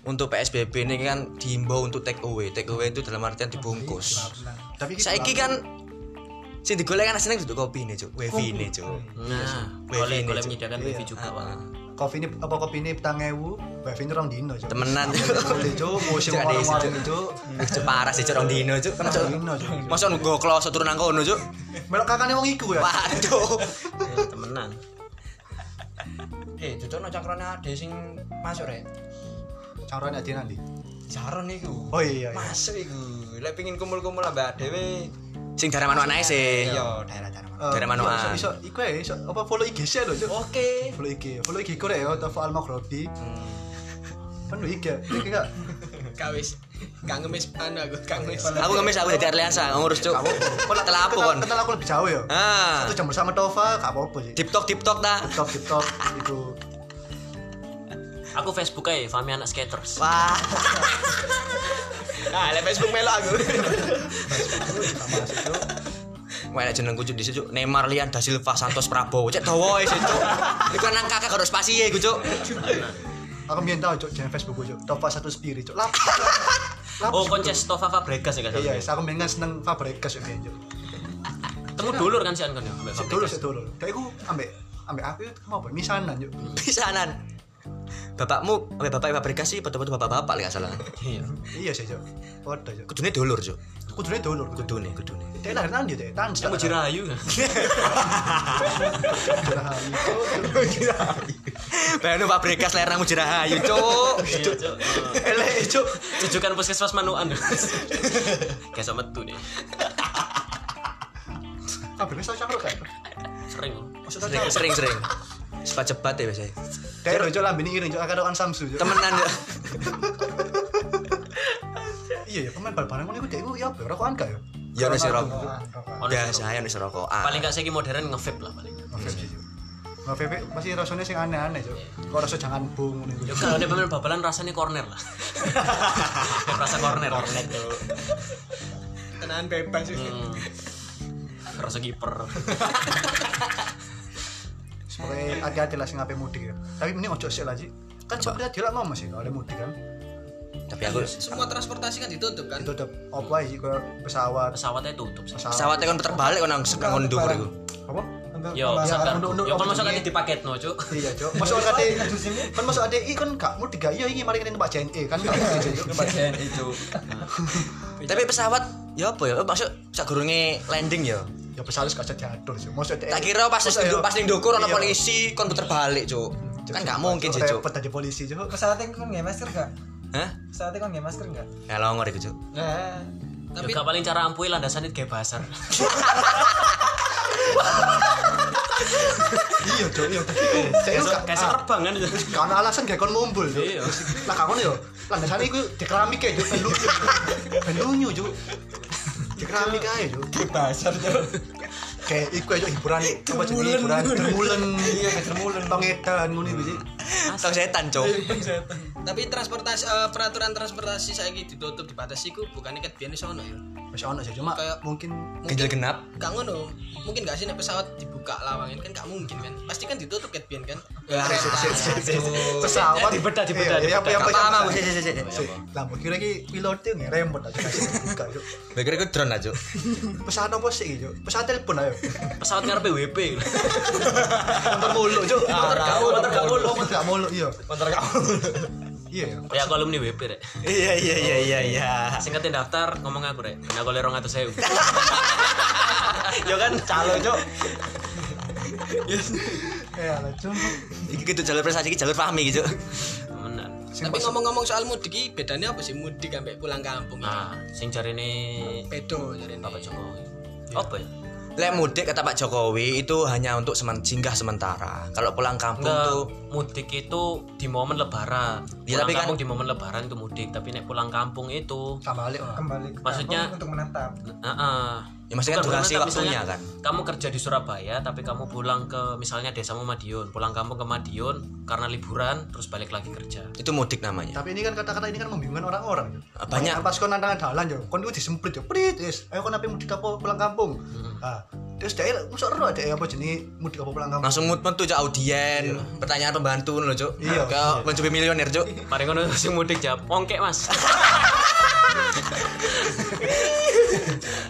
untuk PSBB ini kan diimbau untuk take away take away itu dalam artian dibungkus Tapi iki- saiki kan sing digolek kan asline duduk kopi ini cuk wifi ini cuk nah Wifi boleh ini, boleh Cuk. menyediakan Iya. wifi juga Pak. kopi ini apa kopi ini petang ewu Bevin orang dino Cuk. temenan cuk Boleh Cuk, mau sih Cuk, ada isi, warung-warung Cuk. itu. Cuk, parah sih cuk orang dino cuk kan cuk Dino Cuk. masa nunggu kloso turun nang kono cuk Melok kakaknya wong iku ya. waduh Ya, temenan eh cocok no cangkrone ade sing masuk rek Caranya dia nanti. jaron iku Oh iya. iya. masuk iku lek pengin kumpul-kumpul ambek dhewe sing darah manuk anake sih yo daerah-daerah Iya, mana. Eh, Dari manual. iso- Iso iku ya, iso apa follow IG sih lho. Cuk. oke Follow IG, follow IG ku rek ya Tofu Al Maghribi. Hmm. Penuh IG. Iki gak kawis gak ngemis anu aku gak ngemis aku ngemis aku jadi Arliansa ngurus cuk telah apa kon Kenal aku lebih jauh ya. ah Satu jam bersama Tova gak apa-apa sih. gitu. tiktok tiktok ta Top tip top itu. aku Facebook aja Fami anak skaters wah ah lek Facebook melok aku Wah, nek jenengku cuk disitu cuk Neymar Lian da Silva Santos Prabowo cek dawa wis cuk. Iku nang kakak karo spasi e iku cuk. Aku mien tau cuk jeneng Facebook ku, cuk. Tova satu spirit cuk. Lap. Lap, oh cuk. konces Tova Fabregas ya gak Iya, salah aku mien kan seneng Fabregas cuk. mien, cuk. temu dulur kan si Ankon ya Mbak Sedulur Fabregas. sedulur. Kayak aku ambek ambek aku itu mau apa? Misanan yuk. Pisanan. Bapakmu, ambek bapak Fabregas sih foto-foto bapak-bapak lek gak salah. iya Iya sih cok. Foto cok. Kudune dulur cuk. Kudune dulur. Kudune. Kudune, kudune. Teh lahir nanti teh. Tan. kamu jirayu ya Bayangno Fabregas lerang mujirahayu cuk. Iya, Cuk. Eleh cok. Rujukan puskesmas Manuan. Kayak sama tuh nih. Kabeh saya cakro kan. Sering. Sering sering sering. Cepat cepat ya biasanya. Teh lo cok lambene iring cok karo kan Samsu cok. Temenan cuk. Iya ya pemain bal bareng ngono iku dek iku ya apa? Rokokan gak ya? Ya ono sing rokok. Rokokan, rokokan. Ono sing Biasa ya ono sing rokok. paling gak segi modern nge-vape lah paling Nah, Pepe pasti rasanya sing aneh-aneh, Cuk. Kok rasa jangan bung ngono ya iku. kalau ada pemain babalan rasanya corner lah rasa corner corner tuh tenanan bebas sih Hmm. rasa kiper Sebagai hati-hati lah sing ape mudik ya. Tapi mending ojo sik lah, Cik. Kan sebenarnya dia lah ngomong sih kalau ada mudik kan. Tapi aku Ya, semua transportasi kan ditutup kan Ditutup opo ae sih koyo pesawat, pesawatnya tutup sih pesawat. pesawatnya kon puter balik kon nang sekang kon dhuwur iku. Apa? Untuk yo pembahasan. misalkan Ya, untuk- yo untuk- kan masuk kan dipaket no cuk Iya, Cuk. Masuk ade kan masuk ade kan gak mudik gak iya iki mari kita numpak JNE kan gak mudik, Cuk. Iya. itu Tapi pesawat ya apa ya? Maksud sagurunge landing ya. Ya pesawat gak bisa diatur, Cuk. Masuk ade. Tak kira pas Masuk, ning ya. pas ning ndukur ono Iya. polisi kon puter balik, Cuk. Cuk, Kan gak mungkin sih, Cuk. Repot tadi polisi, Cuk. pesawatnya kan nggak masker gak Hah? pesawatnya kan nggak masker gak Ya longor iku, Cuk. nah tapi gak paling cara ampui landasannya kayak basar Iya, Cuk. Iya. Saya kayak gak- kayak ah. serbang kan Cuk. Karena alasan gak kon mumpul tuh. Iya. Lah kakon yo, landasan iku dikeramik ae juk ben lucu. Ben lunyu juk. Dikeramik ae juk. pasar Kayak iku aja hiburan apa jenenge hiburan termulen. Iya, termulen pangetan ngono iku sih. Tong setan, Cuk. Iya, tapi transportasi eh, peraturan transportasi saya ditutup dibatasi ku bukannya ket biyen sono ya Wis ono sih cuma Kayak- mungkin Ganjil genap. gak ngono mungkin gak sih nek pesawat dibuka lawangin kan gak mungkin kan pasti kan ditutup ket biyen kan Ya, pesawat dibedah, dibedah, Iya, apa apa Gak yang apa-apa, sik sik sik, sik. Sik, Lah, mbok kira iki pilotnya nggak remote aja kasih buka juk. Gue kira iku drone lah, Cuk. Pesan apa sih juk? Pesan telepon ayo. pesawat ngarepe WP Motor mulu juk. Motor gak mulu, motor gak mulu. Motor gak mulu, iya. kontrak kamu Iya, iya. ya aku alumni WP rek Oh, Iya iya iya iya iya. singkatin daftar ngomong aku rek ben aku oleh 200 sewu yo kan calo cuk Eh, lah cuma Iki kudu jalur prestasi iki jalur Fahmi gitu. temenan tapi ngomong-ngomong soal mudik iki bedanya apa sih mudik sampai pulang kampung ya Nah, sing jarine pedo jadi Bapak Iya. Jokowi. Apa ya? Lek mudik kata Pak Jokowi itu hanya untuk semen singgah sementara. Kalau pulang kampung Enggak, tuh mudik itu di momen lebaran. Ya, pulang tapi kan- kampung di momen lebaran itu mudik, tapi nek pulang kampung itu tambah alik ora. kembali ke Maksudnya- kampung untuk menetap Heeh. Ya, maksudnya Bukan durasi berenang, waktunya, misalnya kan? Kamu kerja di Surabaya tapi kamu pulang ke misalnya desamu Madiun, pulang kampung ke Madiun karena liburan terus balik lagi kerja. itu mudik namanya. Tapi ini kan kata-kata ini kan membingungkan orang-orang. Jok. Ah, banyak. Kan Pas kau nantang dalan yo, kau itu disemprit yo. Prit, yes. Ayo kau nape mudik apa pulang kampung? Ah, terus dia masuk roh dia apa jenis mudik apa pulang kampung? Langsung mood tuh cak Iya. audien, pertanyaan pembantu loh cuk. Iya. Kau mencoba milioner cuk. Mari ngono sing mudik jawab, "Ongkek, Mas."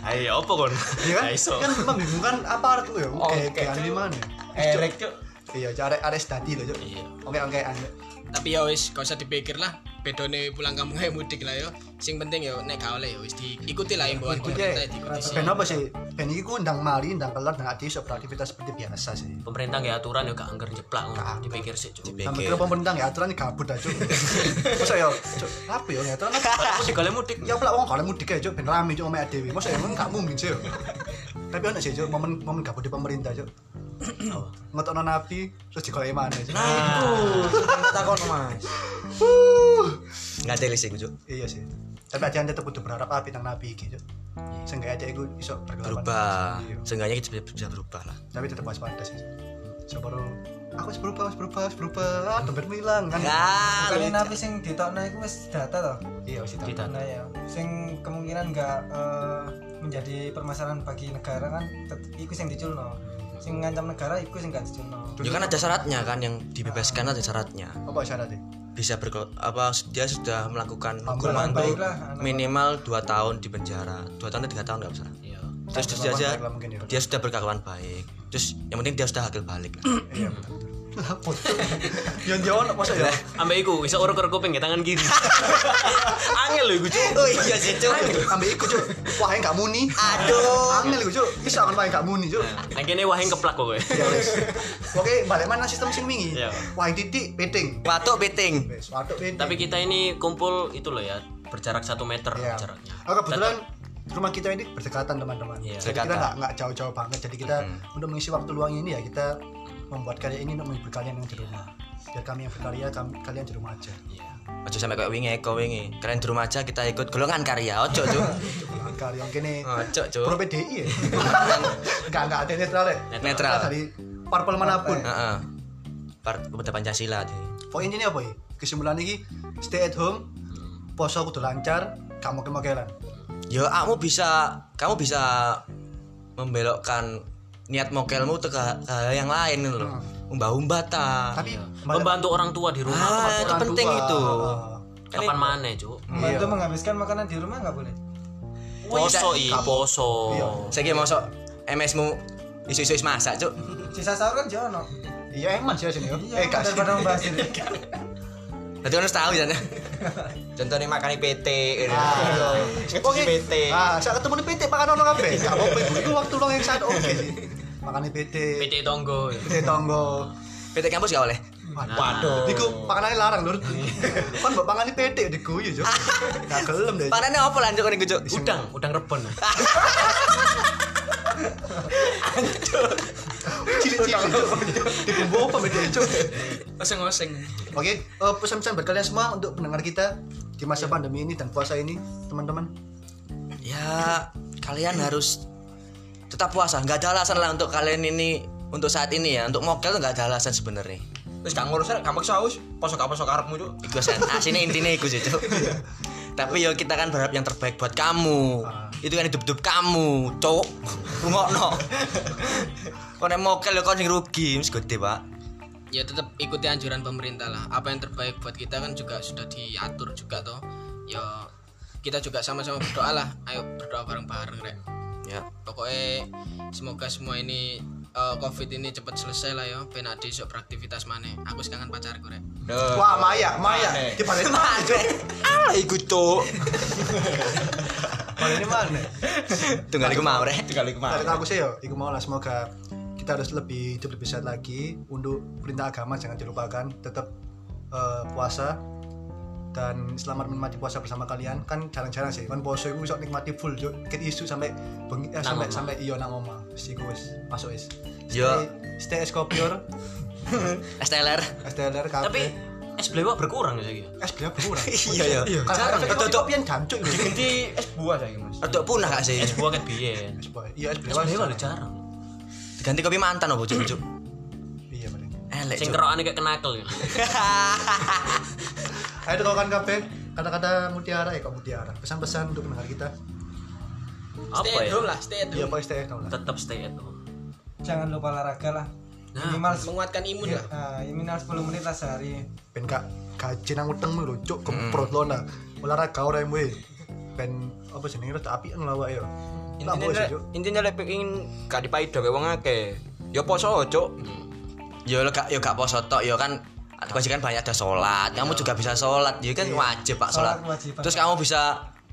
Ayo apa kon? Iya kan? Ayo, so. Kan membingungkan apa itu ya? Oke, oke, ini mana? erek cuk Iya, cara ares tadi loh. Jok. Iya. Oke, oke, ane. tapi ya wis gak usah dipikir lah bedone pulang kampung ae mudik lah yo sing penting yo nek gak oleh yo wis diikuti lah imbauan Ikut ya. pemerintah diikuti Ben apa sih? Ben ini ku ndang mali, ndang kelar, ndang ati beraktivitas seperti biasa sih. Pemerintah nggak aturan ya gak angger jeplak ngono. Gak angger. Dipikir sih, Cuk. Nah, mikir pemerintah ya aturan kabut aja. Masa ya, Jok, apa ya aturan apa? Padahal mudik oleh mudik. ya pula wong kalau mudik aja Cuk, ben rame cuk omek dhewe mosok ya ngono gak mungkin sih yo. tapi ono sih cuk momen momen gak di pemerintah cuk ngetokno nabi terus digoleki maneh cuk Nah. takon mas Nggak ada listrik cuk. iya sih tapi aja tetep kudu berharap api nang nabi iki cuk seenggaknya aja iku iso berkelapan Berubah. Iya. Seenggaknya kita bisa, bisa berubah lah. Ya tapi tetep waspada sih so baru aku harus berubah harus berubah harus berubah ah, dompetmu hilang kan Ah, kalian nabi sing ditokno iku wis data toh iya wis itu Tidak. nah ya sing kemungkinan nggak eh, menjadi permasalahan bagi negara kan tet- iku sing diculno sing ngancam negara iku sing gak diculno ya kan ada syaratnya kan yang dibebaskan Ah. ada syaratnya. apa syaratnya Bisa ber apa dia sudah melakukan hukuman baik tuh lah, anak minimal 2 tahun di penjara. 2 tahun atau 3 tahun nggak salah. Iya. Terus Sampai dia kapan aja baik lah mungkin ya. dia sudah berkelakuan baik. Terus yang penting dia sudah hakil balik lah. iya betul laput yang jauh masa ya Ambek iku iso uruk-uruk kuping ya, tangan kiri. Angel lho iku, Cuk. Oh iya sih cuk. ambil ikut cuk wah yang gak muni Aduh. angel iku cuk bisa kan wah yang gak muni cuk Nang kene waheng keplak kok kowe. ya Iya. wes oke balik mana sistem sing wingi Iya. wah titik peting Patok beting. wes waduh peting Tapi kita ini kumpul itu loh ya, berjarak satu meter Iya. ya jaraknya. oh kebetulan rumah kita ini berdekatan teman-teman Iya. jadi kita Berdekatan. nggak nggak jauh-jauh banget jadi kita untuk mengisi waktu luang ini ya kita membuat karya ini untuk menghibur kalian yang di rumah biar kami yang berkarya kam- kalian di rumah aja Iya. Ojo sampai kayak wingi eko wingi. Kalian di rumah aja kita ikut golongan karya. Ojo tuh. Nah, karya kene Ojo tuh. Pro PDI ya enggak enggak ada yang netral ya Netral. ya? dari parpol manapun Heeh. Part kepada Pancasila deh. poin ini apa ya kesimpulan ini stay at home poso kudu lancar kamu kemokelan Ya kamu bisa kamu bisa membelokkan niat mokelmu ke, ke hal yang lain gitu loh. Umbah-umbah ta. Hmm. tapi malah- membantu orang tua di rumah Ah, itu orang penting tua. Iya. itu. Ah, kapan mana cuk Bantu menghabiskan makanan di rumah nggak boleh. poso i poso Iya. Saya kira masuk MS-mu isu-isu masak, Cuk. Sisa sahur kan jono. iya emang sih sini yo eh Iya, kasih daripada membahas ini. Berarti harus tahu ya. Contohnya makan PT. Oke. Ngecek PT. Ah, saya ketemu di PT makan ono kabeh. Enggak apa-apa itu itu waktu luang yang sangat oke sih. Makan di PT. PT tonggo PT tonggo. PT kampus gak oleh. Waduh. Iku makanannya larang lur. Kan mbok pangan di PT diguyu yo. Enggak iya, gelem deh. Panane apa lanjut ngene, Cuk? udang udang rebon Cilik-cilik. Dibumbu apa mbek dia, Cuk? Oseng-oseng. Oke, eh, pesan-pesan buat kalian semua untuk pendengar kita di masa pandemi ini dan puasa ini, teman-teman. Ya, kalian harus tetap puasa. Nggak ada alasan lah untuk kalian ini untuk saat ini ya, untuk mokel tuh nggak ada alasan sebenarnya. Terus gak ngurus gampang saus. Poso gak poso karepmu cuk. Iku sen, asine intinya iku sih, Cuk. Iya. Tapi yo kita kan berharap yang terbaik buat kamu. Ah. Itu kan hidup-hidup kamu, Cuk. Rungokno. Kau nek mokel yo kau sing rugi, wis gede, Pak. Ya tetap ikuti anjuran pemerintah lah. Apa yang terbaik buat kita kan juga sudah diatur juga toh. Ya kita juga sama-sama berdoa lah. Ayo berdoa bareng-bareng rek. Ya. Pokoknya semoga semua ini eh, covid ini cepat selesai lah ya. Ben ade esuk beraktivitas maneh. Aku sekarang kan pacarku rek. Wah, Maya, Maya. Di balik mana, Cuk? Ala iku, Cuk. Balik mana? Tunggal iku mau rek. Tiga lima. Dari aku sih yo, iku mau lah semoga kita harus lebih hidup lebih sehat lagi untuk perintah agama jangan dilupakan tetap eh, puasa dan selamat menikmati puasa bersama kalian kan jarang-jarang sih kan puasa itu bisa nikmati full yo ket isu sampai bengi, eh, sampai sampai iyo nang oma si wis masuk wis Yo. stay, stay Escopior STLR. STLR kabeh. tapi es blewok berkurang ya saya es gelap kurang Iya, iya. jarang Dodok- kopi jancuk lho Ganti es buah saya Mas. Rodok punah gak sih? es buah kan biyen Es boy. iya es es gelap blewok lho jarang Diganti kopi mantan opo, Cuk? Cuk? iya bener Elek, sing Cuk. kerokane kayak kenakel ya. Ayo doakan kabeh kata-kata mutiara ya kok mutiara. Pesan-pesan untuk pendengar kita. apa Stay at ya home lah, stay at Iya home. pokoknya stay at home lah. tetap stay at home Jangan lupa olahraga lah. nah Minimal Menguatkan imun Iya. lah. Nah, minimal 10 menit lah sehari. Ben gak gaji nang uteng lu cuk kemprot lo nah. Olahraga ora emwe. Ben apa jenenge rada api nglawa ya. Lah bos ya, cuk. Intinya lek pengin gak dipaido kayak wong akeh. Ya poso cuk. Yo gak yo gak poso tok yo kan kewajiban banyak ada sholat kamu juga bisa sholat ya kan wajib pak sholat, Sholat kewajiban. terus kamu bisa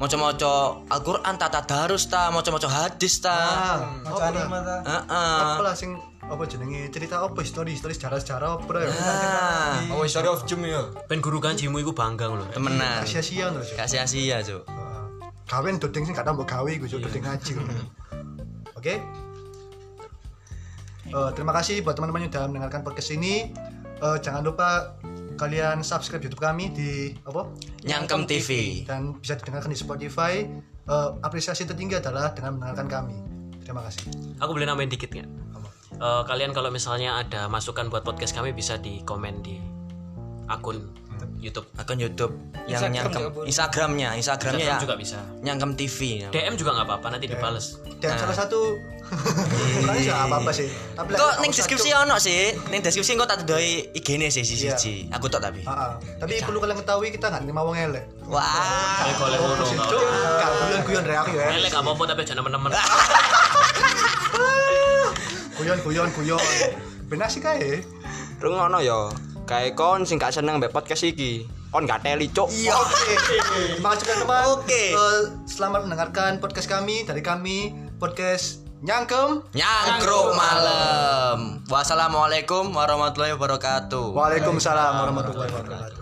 moco-moco Al-Quran tata darus ta moco-moco hadis ta Ah, apa Mau cari lah? mata. Heeh. Apa lah sing apa jenenge cerita apa story story sejarah-sejarah apa ya. Ah, Oh, story of Jum ya. ben guru kanjimu iku bangga lho temenan Sia-sia lho cuk. gak sia-sia cuk Ah, Kawin dodeng sing gak tambah gawe iku cuk dodeng ngaji. ku. Oke. Eh, terima kasih buat teman-teman yang sudah mendengarkan podcast ini. Eh, jangan lupa kalian subscribe YouTube kami di apa? nyangkem TV Dan bisa didengarkan di Spotify. Eh, apresiasi tertinggi adalah dengan mendengarkan kami. Terima kasih. aku boleh nambahin dikit nggak Apa? Eh, kalian kalau misalnya ada masukan buat podcast kami bisa di komen di akun YouTube akun YouTube yang Instagram nyangkem juga boleh. Instagramnya Instagramnya ya Instagram juga bisa nyangkem TV DM juga nggak apa-apa nanti dibales Dan salah satu sebenarnya sih apa apa sih. Tapi lah, kok aku ning satu- deskripsi ono sih ning deskripsi kok tak doi IG-ne sih siji Iya. aku tok tapi Ah, ah. Tapi perlu kalian ketahui kita nggak nerima wong elek. Oh, wah Kalian kalau ngono nggak Cuk, nggak guyon-guyon dari aku ya. Elek nggak apa-apa tapi jangan temen-temen Guyon guyon guyon. Benar sih kae. Rungono ya. Kayak kon sing gak seneng mbek podcast iki. Kon gak teli cuk. Iya. Oke. Terima kasih teman-teman. Oke. Eh, selamat mendengarkan podcast kami dari kami podcast Nyangkem. Nyangkruk malam. Wassalamualaikum warahmatullahi wabarakatuh. Waalaikumsalam warahmatullahi wabarakatuh.